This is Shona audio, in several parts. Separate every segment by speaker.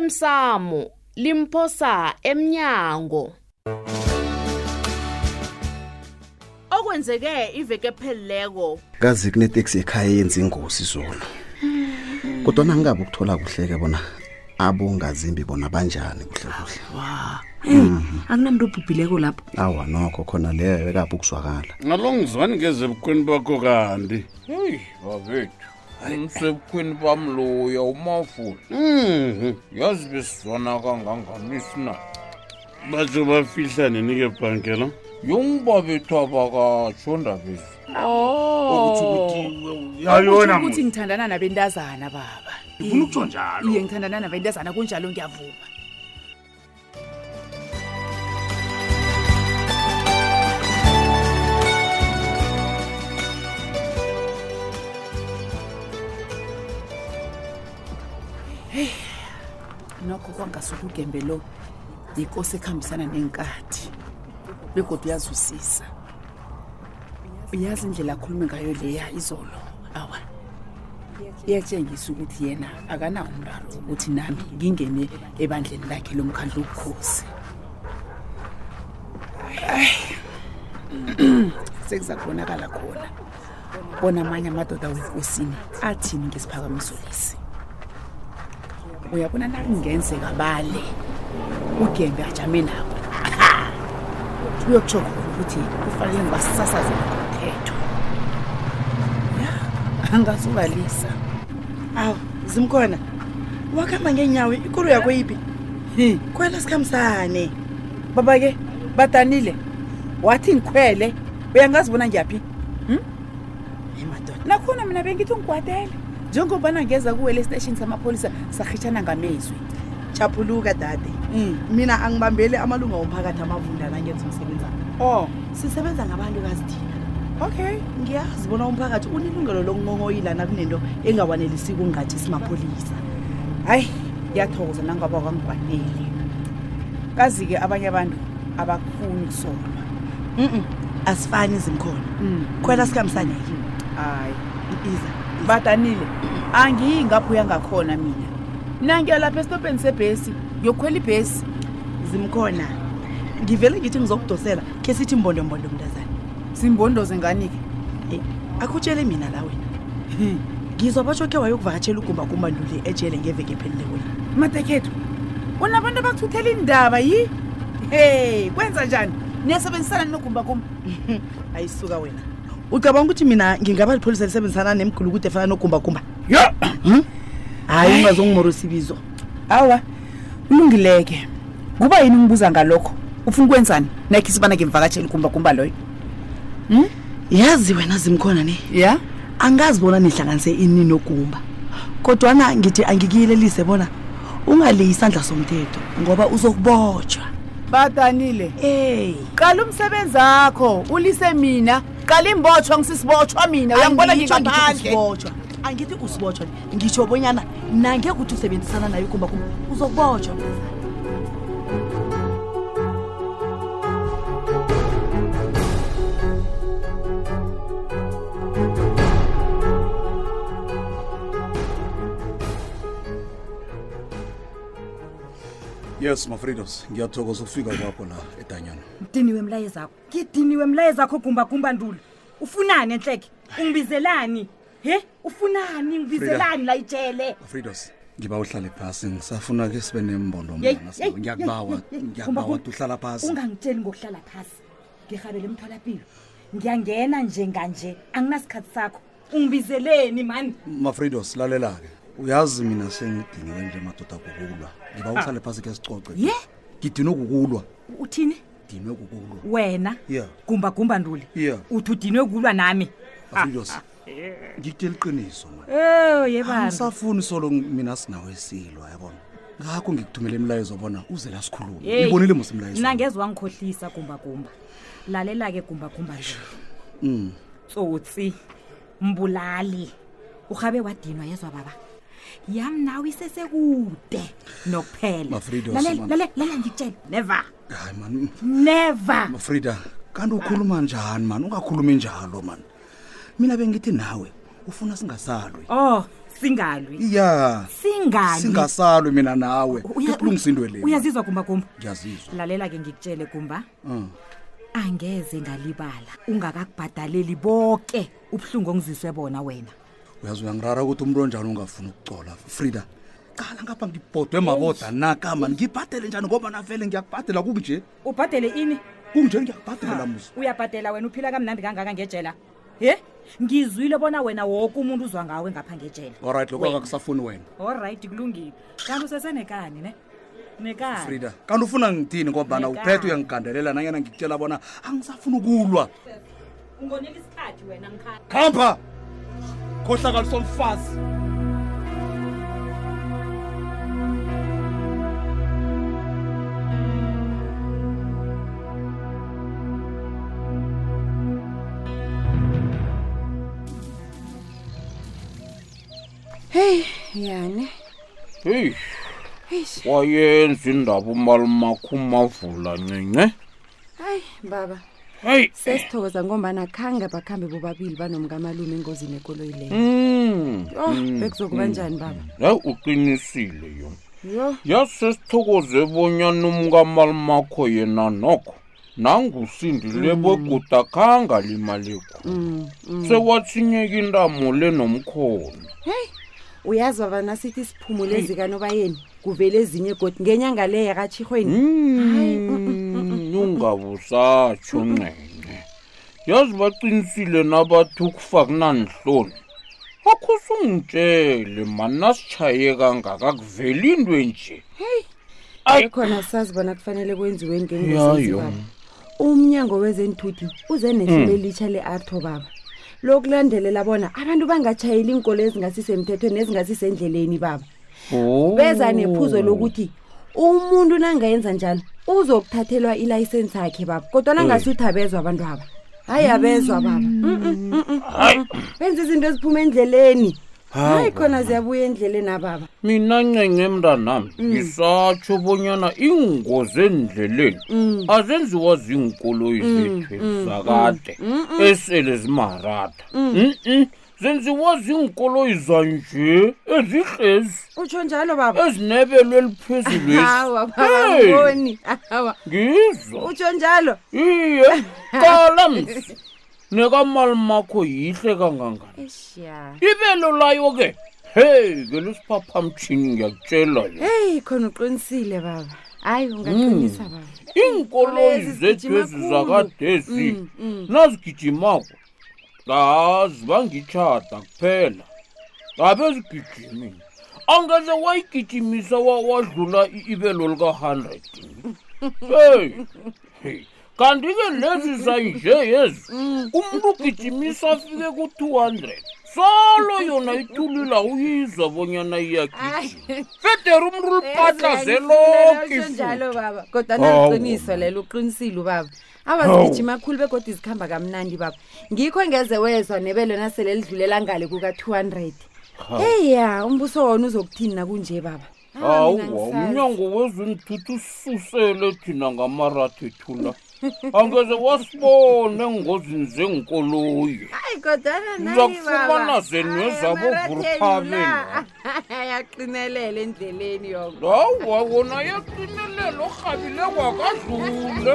Speaker 1: osemsamo limphosa emnyango okwenzeke iveke phelileko
Speaker 2: kazi kuneteksi ekhaya yenza ingozi zolo kodwana ngingabe ukuthola kuhleke bona abongazimbi bona banjani kuhle kuhle
Speaker 3: akunamuntu obhubhileko lapho
Speaker 2: awa nokho khona leyo ekabe ukuzwakala
Speaker 4: ngalongizwani ngezebukhweni bakho kanti
Speaker 5: heyi babethu umsebukhwini bam loya umafula
Speaker 4: Mhm.
Speaker 5: yazi besizwana kanganganisi na
Speaker 4: batsho bafihla nini-ke bhanke lo
Speaker 5: yongibabethu abakatsho ndabezi
Speaker 6: yayona
Speaker 7: ukuthi ngithandana nabentazana baba
Speaker 6: ngifuna ukutsho njalo
Speaker 7: iye ngithandana nabentazana kunjalo ngiyavuma Hey, nokho kwangasuke ugembe lo yikosi ekuhambisana nenkathi begodwa uyazwisisa uyazi indlela akhulume ngayo leya izolo awa iyatshengisa ukuthi yena akanawo umraro ukuthi nami ngingene ebandleni lakhe lomkhandla ubukhosi Ayi. sekuza kubonakala khona bona amanye amadoda wenkosini athini ngesiphakamiso lesi uyabona nakungenzeka bale ugembe ajame nabo uyokutsho khona ukuthi kufanele basasaze umthetho angasubalisa
Speaker 8: awu zimkhona wakuhamba ngeenyawo ikolo yakho yiphi khwela sikhambisane
Speaker 7: baba ke badanile wathi ngikhwele uyangazibona ngiyaphi Hm?
Speaker 8: emadoda
Speaker 7: nakhona mina bengithi ungigwadele njengobana ngeza kuwele esiteshini samapholisa sahitshana ngamezwi Hmm.
Speaker 8: chaphuluka dade mina angibambeli amalunga womphakathi amavundana angenza umsebenzana
Speaker 7: oh
Speaker 8: sisebenza ngabantu kazithina
Speaker 7: okay
Speaker 8: ngiyazi bona umphakathi unelungelo lokungongoyila nakunento engawanelisiko ungathi simapholisa
Speaker 7: hhayi ngiyathokoza nangaba kwangigwanele kazi-ke abanye abantu abakufuni kusolwa
Speaker 8: mm asifani zimkhona khwela sikhambisaneke
Speaker 7: Mm. hayi
Speaker 8: iza
Speaker 7: badanile angiyi ngapho uyangakhona mina nangiya lapha esitopeni sebhesi ngiyokhwela ibhesi
Speaker 8: zimkhona ngivele ngithi ngizokudosela khe sithi mbondombondo mntazana
Speaker 7: simbondoze ngani-ke
Speaker 8: Eh, akutshele mina la wena
Speaker 7: Hmm.
Speaker 8: ngizwa batsho khe wayokuvakatshela ugumbagumbanluli ejele ngeveke phelile wena
Speaker 7: matekhethu unabantu abathuthela indaba yi hey kwenza njani niyasebenzisana ninogumbagumba
Speaker 8: ayisuka wena ucabanga ukuthi mina ngingaba lipholisa lisebenzisana nemgulukude efana Hmm? nogumbagumba
Speaker 4: ya
Speaker 8: hhayi ungazongimorosa ibizo
Speaker 7: awa ulungileke kuba yini ungibuza ngalokho ufuna ukwenzani nakhisi ubana ngimvakatshela ugumbagumba loyo
Speaker 8: yazi wena zimkhona ne
Speaker 7: ya
Speaker 8: angazibona nihlanganise ini nogumba kodwana ngithi angikiyelelise bona ungaleyi isandla somthetho ngoba uzokubotshwa
Speaker 7: badanile
Speaker 8: ey
Speaker 7: qala umsebenzi akho ulise mina qala imbotshwa ngisisibotshwa mina uyangibona
Speaker 8: Angitsho
Speaker 7: ngitsho ngaphandle
Speaker 8: ngithi usibotjhwa. angithi usibotshwa ngitsho bonyana nangekuthi usebenzisana naye ugumbagumba uzokubotshwa
Speaker 9: yes mafridos ngiyathokoza ukufika kwakho la edanyana
Speaker 10: ngidiniwe mlayezakho ngidiniwe mlayezakho gumbagumba nduli ufunani enhleke ungibizelani he ufunani ngibizelani la itshele
Speaker 9: fridos ngiba uhlale phasi ngisafuna ke sibe nembondo
Speaker 10: Yeyi,
Speaker 9: mna
Speaker 10: yeyi,
Speaker 9: sabo. ngiyakubawa
Speaker 10: yeyi, yeyi,
Speaker 9: ngiyakubawa
Speaker 10: Gumbagumba,
Speaker 9: uhlala phasi
Speaker 10: ungangitsheli ngokuhlala phasi ngihabele emtholapilo ngiyangena njenganje anginasikhathi sakho ungibizeleni mani
Speaker 9: mafridos lalela-ke uyazi mina sengidiniwe nje madoda kukulwa ngiba uhlale phasi ke sicoce
Speaker 10: Ye?
Speaker 9: ngidinwe kukulwa
Speaker 10: uthini
Speaker 9: dinwe kukulwa
Speaker 10: wena
Speaker 9: ya
Speaker 10: gumbagumba nduli
Speaker 9: ya
Speaker 10: uthi udinwe kulwa nami
Speaker 9: mafridos ngikutela iqiniso man
Speaker 10: o yebani
Speaker 9: angisafuni solo mina sinawe silwa yabona ngakho ngikuthumele imlayezo bona uze la sikhulume
Speaker 10: Yeyi.
Speaker 9: ibonile mosimlayezo
Speaker 10: mna ngeze wangikhohlisa gumbagumba lalela-ke gumbagumba nduli
Speaker 9: Mm.
Speaker 10: tsotsi mbulali urhabe wadinwa yezwa baba yam nawe isesekude nokuphela
Speaker 9: Mafridos,
Speaker 10: Lalela-
Speaker 9: man.
Speaker 10: lalela- lalela ngikutshele never
Speaker 9: hayi mani
Speaker 10: never
Speaker 9: frida kanti ukhuluma njani mani ungakhulumi njalo mani mina bengithi nawe ufuna singasalwi Mm.
Speaker 10: oh singalwi
Speaker 9: iya
Speaker 4: singani
Speaker 9: singasalwi mina nawe
Speaker 4: Uya-
Speaker 9: ikulungisa into le
Speaker 4: uyazizwa gumba gumba
Speaker 9: ngiyazizwa Mm.
Speaker 4: lalela-ke ngikutshele gumba angeze ngalibala ungakakubhadaleli bonke ubuhlungu ongizwiswe bona wena
Speaker 9: uyazi uyangirara ukuthi umuntu onjani ungafuni ukucola frida qala ngapha ngibhodwe maboda nakama ngibhadele njani ngoba navele ngiyakubhadela kunje
Speaker 4: ubhadele ini
Speaker 9: kunje ngiyakubhadela musi
Speaker 4: uyabhadela wena uphila kamnandi kangaka ngejela ye ngizwile bona wena woke umuntu uzwa ngawe ngapha ngejela
Speaker 9: olright lokho akakusafuni wena
Speaker 4: olright kulungile kanti usesenekani ne nekani
Speaker 9: frida kanti ufuna ngithini ngobana
Speaker 4: Neka.
Speaker 9: uphethe uyangigandelela nanyana ngikutshela bona angisafuni ukulwa
Speaker 4: ungonika isikhathi wena ngikha
Speaker 9: khamba khohlakaliso mfazi
Speaker 10: yani
Speaker 5: heyi wayenza indaba umalumakho umavula ncince
Speaker 10: hayi baba
Speaker 5: heyi
Speaker 10: sesithokoza ngombana khange bakhambe bobabili banomkamalume engozini ekoloyi leyo
Speaker 5: Mm.
Speaker 10: oh bekuzokuba njani baba
Speaker 5: hayi uqinisile yona
Speaker 10: yo
Speaker 5: yase sithokoze bonyana umkamalimakho yena nokho nangusindile beguda khanga limalekho sewathinyeka intamo lenomkhono
Speaker 10: heyi uyazi baba nasithi siphumule ezikanobayeni kuvele ezinye godi ngenyanga le yakatshirhweni
Speaker 5: Mm, ungabusatsho nqene yazi baqinisile nabathi ukufa kunanihloni akho sungitshele mani nasitshaye kangaka kuveli intwe nje Ayi.
Speaker 10: ekhona sazi bona kufanele kwenziweni
Speaker 5: Yayo.
Speaker 10: ngengoziziba umnyango wezenthuthi uze nehlelo elitsha le-arto baba lokulandelela bona abantu bangatshayeli iinkolo ezingasisemthethweni ezingasisendleleni baba
Speaker 5: Oh.
Speaker 10: beza nephuzo lokuthi umuntu nangayenza njalo uzokuthathelwa ilayisensi yakhe baba kodwa nangasuthi abezwa abantu aba hayi abezwa baba Mm, mm, mm, mm, mm. benza izinto eziphuma endleleni hayi khona ziyabuya endleleni ababa
Speaker 5: mina ncenge mntanami ngisatsho bonyana iingozi endleleni azenziwa ziinkoloyi zethu zakade esele zimaratha Mm-mm. zenziwa ziinkoloyi zanje ezihlezi
Speaker 10: utsho njalo baba
Speaker 5: ezinebelo eliphezulu
Speaker 10: hawa baba
Speaker 5: Hey,
Speaker 10: ngiboni hawa
Speaker 5: ngizwa
Speaker 10: utsho njalo
Speaker 5: iye qala msi nekamali makho yihle kangangani
Speaker 10: eshiya
Speaker 5: ibelo layo ke heyi ke lisiphaphamtshini ngiyakutshela yo
Speaker 10: heyi khona uqinisile baba hayi ungaqinisa baba
Speaker 5: iinkoloyi
Speaker 10: Lezi
Speaker 5: zethu
Speaker 10: zigijima
Speaker 5: ezi
Speaker 10: khulu. Mm,
Speaker 5: zakadesi nazigijimako kazi bangitshata kuphela abe zigijimini angeze wayigijimisa wa- wadlula i- ibelo lika-hundred heyi heyi kanti-ke lezi zanje yezi
Speaker 10: Mm.
Speaker 5: umntu ugijimisa afike ku-two hundred solo yona ithulila uyizwa bonyana iyagijima federe umntu lipatlazeloki
Speaker 10: Utsho
Speaker 5: futhi
Speaker 10: njalo baba kodwa
Speaker 5: Hawu.
Speaker 10: naliqiniso lelo uqinisile ubaba
Speaker 5: Hawu.
Speaker 10: abazigijima khulu begodi zikhamba kamnandi baba ngikho ngeze wezwa nebelo nasele lidlulela ngale kuka-two hundred eya umbuso wona uzokuthini nakunje baba Ah, mina
Speaker 5: hawa
Speaker 10: angisazi.
Speaker 5: umnyango wezenthuthi ususele thina ngamaratha ethu la angeze wasibona engozini zenkoloyi
Speaker 10: hayi kodwana
Speaker 5: Ngizakufumana zenu ezabovuruphabeni.
Speaker 10: yaqinelela endleleni yoko
Speaker 5: hawa wona yaqinelela orhabile kwakadlule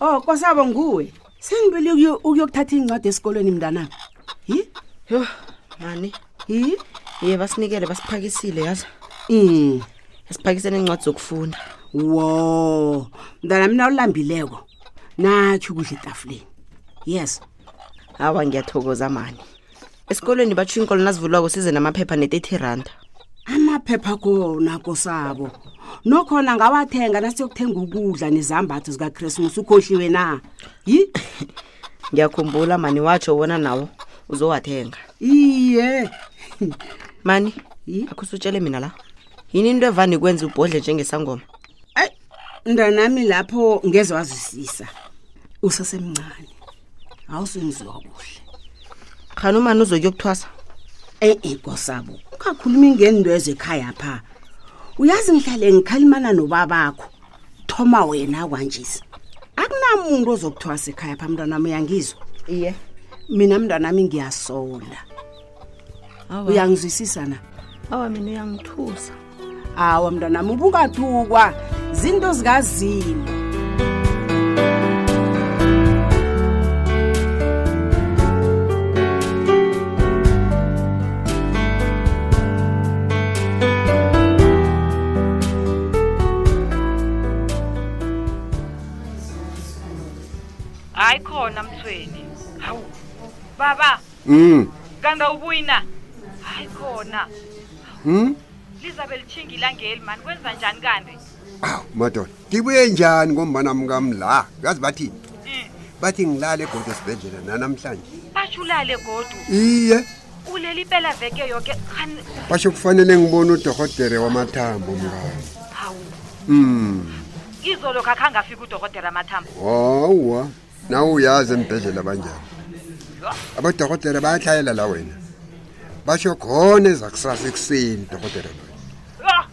Speaker 8: Oh kwasabo nguwe. Sengibele ukuyo- ukuyokuthatha incwadi esikolweni mntana. Hi?
Speaker 11: yho mani
Speaker 8: Hi?
Speaker 11: ye basinikele basiphakisile yazi
Speaker 8: Mm.
Speaker 11: basiphakisele iincwadi zokufunda
Speaker 8: Wo. Mntana mina ulambileko. Nathi ukudla etafuleni. Yes.
Speaker 11: hawa ngiyathokoza mani esikolweni batsho iinkolo nazivulwako size namaphepha ne-thirty randa
Speaker 8: Amaphepha kona kosabo. Nokhona ngawathenga nasiyokuthenga ukudla nezambatho zika Christmas ukhohliwe na. Hi?
Speaker 11: ngiyakhumbula mani watsho wona nawo uzowathenga
Speaker 8: Iye.
Speaker 11: mani
Speaker 8: Yi?
Speaker 11: akho usutshele mina la yini into evane kwenza ubhodle njengesangoma
Speaker 8: Ay,
Speaker 12: mntanami lapho ngeze wazwisisa usasemncane awusenziwa kuhle
Speaker 1: khanumani uzokuyokuthwasa
Speaker 12: e-e kosabo ungakhulumi ngento ezekhaya pha uyazi ngihlale ngikhalimana nobabakho thoma wena kwanjesi akunamuntu ozokuthwasa ekhaya pha mntanami uyangizwa
Speaker 1: iye
Speaker 12: mina mntanami ngiyasola uyangizwisisa na
Speaker 13: awa mina uyangithusa
Speaker 12: awa mntanami ubungathukwa zinto zikazimo
Speaker 10: hayi khona mthweni hawu baba
Speaker 14: Mm.
Speaker 10: kanti awubuyi na hayi khona
Speaker 14: Hmm?
Speaker 10: lizabe litshinga ilangeli mani kwenza njani kanti
Speaker 14: Madoda, ngibuye njani ngombana mkami la? Yazi bathini? Bathi ngilale egodwa esibhedlela nanamhlanje.
Speaker 10: basho ulale godu
Speaker 14: Iye,
Speaker 10: uleli impela veke yoke khani
Speaker 14: basho kufanele ngibone udohotere wamathambo mkami.
Speaker 10: hawu
Speaker 14: Mm.
Speaker 10: izolokhu akhange afika udokotela amathambo
Speaker 14: Hawa, nawe uyazi embhedlela banjani. Abadohotere bayahlayela la wena. Basho khona ezakusasa ekuseni dohotere lo.
Speaker 10: Ah!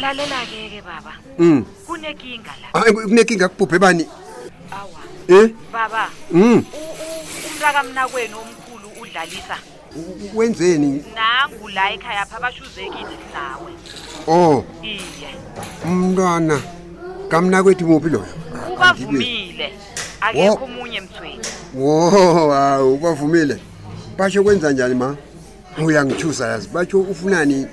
Speaker 10: lalela-ke ke baba
Speaker 14: Mm.
Speaker 10: kunekinga la
Speaker 14: Hayi kunenkinga kubhubhe bani? Awa. Eh?
Speaker 10: baba
Speaker 14: Mm.
Speaker 10: umntakamna kwenu omkhulu udlalisa
Speaker 14: Wenzeni?
Speaker 10: nangu la ekhaya pha bashuzekile nawe
Speaker 14: Oh.
Speaker 10: iye
Speaker 14: umntwana kamna kwethu muphi loyo
Speaker 10: ubavumile akekho omunye mthweni
Speaker 14: wo hawu ubavumile basho kwenza njani ma uyangithusa yazi basho ufunani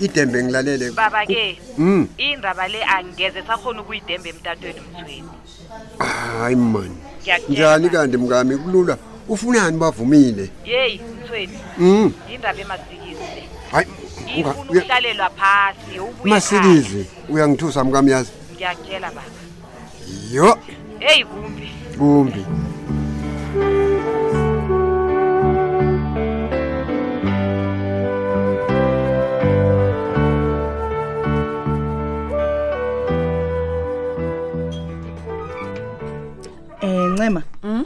Speaker 14: idembe ngilalele
Speaker 10: baba-ke
Speaker 14: Mm.
Speaker 10: indaba le angeze sakhona ukuyidemba emtatweni mthweni
Speaker 14: hayi mani
Speaker 10: ngiyakutshela
Speaker 14: njani kanti mkami kulula ufunani bavumile
Speaker 10: yeyi mthweni
Speaker 14: Mm.
Speaker 10: indaba emasikizi le
Speaker 14: hayi unga-
Speaker 10: ifuna
Speaker 14: uya-
Speaker 10: ukuhlalelwa phasi ubuye ekhaya.
Speaker 14: masikizi uyangithusa mkami yazi
Speaker 10: ngiyakutshela baba
Speaker 14: yo
Speaker 10: heyi kumbi
Speaker 14: kumbi
Speaker 8: Eh Ncema.
Speaker 12: Hmm?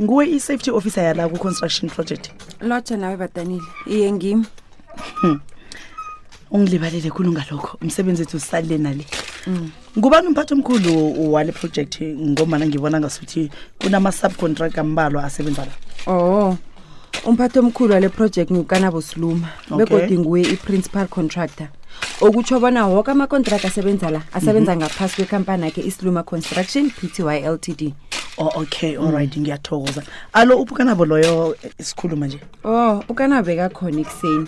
Speaker 8: Nguwe i-safety officer yala ku construction project.
Speaker 3: lotsha nawe badanile iye ngimi
Speaker 8: Ungilibalele khulu ngalokho. Umsebenzi wethu usalile nale. Ngubani umphathi omkhulu wale project ngomana ngibona ngasuthi kunama subcontract ambalwa asebenza la.
Speaker 3: Oh. Umphathi omkhulu wale project ngukanabo Siluma
Speaker 8: Okay.
Speaker 3: begodi nguye i-principal contractor. Okutsho bona wonke ama-contract asebenza la asebenza
Speaker 8: Mhm.
Speaker 3: ngaphasi kwekampani yakhe isiluma construction pty ltd
Speaker 8: Oh okay alright ngiyathokoza. Alo ubukanabo loyo eh, sikhuluma nje.
Speaker 3: oh ukanabe kakhona ekuseni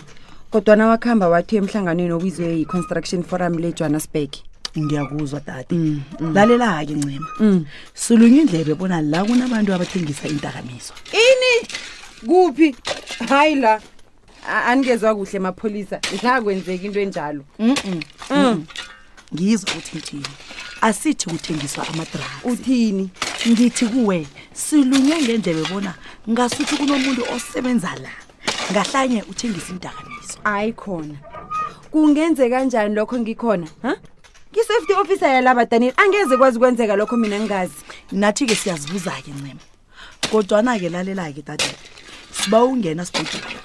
Speaker 3: kodwana wakuhamba wathi emhlanganweni obizwe yi-construction forum lejohannesburg
Speaker 8: ngiyakuzwa dade Lalela-ke Ncema. Sulunye indlebe bona la kunabantu abathengisa intakamizwa.
Speaker 3: ini kuphi hayi la A- anikezwa kuhle mapholisa nakwenzeka into enjalo Mm.
Speaker 8: ngizwa ukuthi ngithini asithi kuthengiswa ama-drugs
Speaker 3: uthini
Speaker 8: ngithi kuwe silunye ngendlebe bona ngasuthi kunomuntu osebenza la ngahlanye uthengisa indakamizwa
Speaker 3: hayi khona kungenze kanjani lokho ngikhona ha ngi-safety officer yalaba danile angeze kwazi kwenzeka lokho mina ngingazi
Speaker 8: nathi-ke siyazibuza-ke ncema kodwana-ke lalela-ke dadade siba ungena sibhudule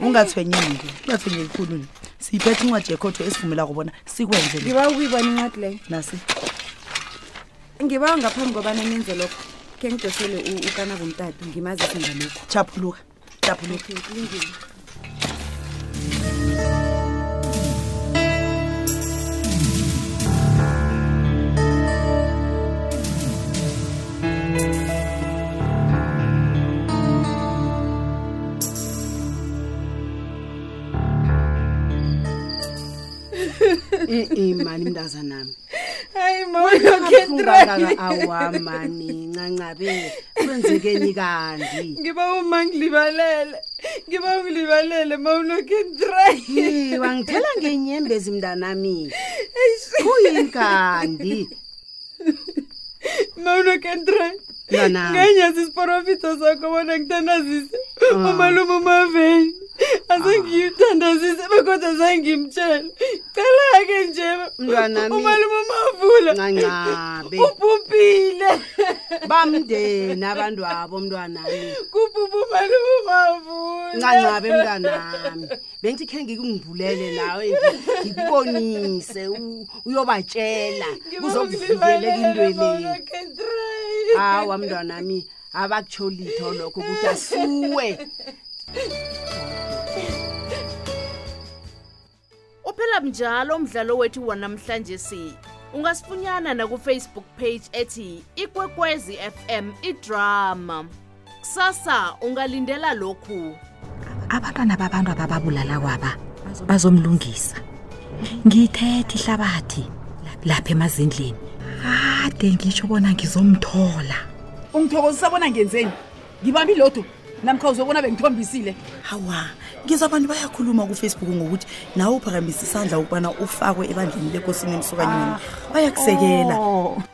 Speaker 8: ungathwenyeki ungathwenyeki khulu ni siyiphethe incwadi yekhotho esivumela kubona sikwenze lokhu.
Speaker 3: ngiba ukuyibona incwadi leyo
Speaker 8: nasi
Speaker 3: ngiba ngaphambi kobana nenze lokho khe ngidosele u- ukana bomtatu ngimazise ngalokho
Speaker 8: chaphuluka chaphuluka
Speaker 12: e-e mani mntazanami
Speaker 3: hayi
Speaker 12: awa mani ncancabe kwenzekeni kanti
Speaker 3: ngiba uma ngilibalele ngiba ngilibalele mawunokentry
Speaker 12: Yi, wangithela ngenyembezi mntanami kuyini kanti
Speaker 3: mawunokentry
Speaker 12: Mntanami.
Speaker 3: ngenyazi isiporofito sakho bona ngithandazise umalume umaveni
Speaker 15: azengiyithandazise bekodwa zengimtshele cela-ke nje
Speaker 5: Mntwanami.
Speaker 15: umaluma umavula
Speaker 5: Ncancabe.
Speaker 15: ubhubhile
Speaker 5: bamndeni abantu abo mntwanami
Speaker 15: kubhubha umaluma umavula
Speaker 5: ncancabe mntwanami bengithi khe ngikungivulele nawe nje ngikubonise u- uyobatshela kuzokuvikeleka into leyo hawa mntwanami abakutsho litho lokho ukuthi asuwe
Speaker 1: uphela mnjalo umdlalo wethu wanamhlanje si ungasifunyana nakufacebook page ethi ikwekwezi fm idrama kusasa ungalindela lokhu
Speaker 10: abantwana babantu abababulala kwaba bazomlungisa ngiyithetha ihlabathi lapha emazindleni kade ngitsho bona ngizomthola
Speaker 16: ungithokozisa bona ngenzeni ngibambi lodu namkha uzobona bengithombisile
Speaker 8: hawa ngizwa abantu bayakhuluma kufacebook ngokuthi
Speaker 16: Ah, oh.
Speaker 8: nawe uphakamisa isandla ukubana ufakwe ebandleni lekosini emsukanyweni bayakusekela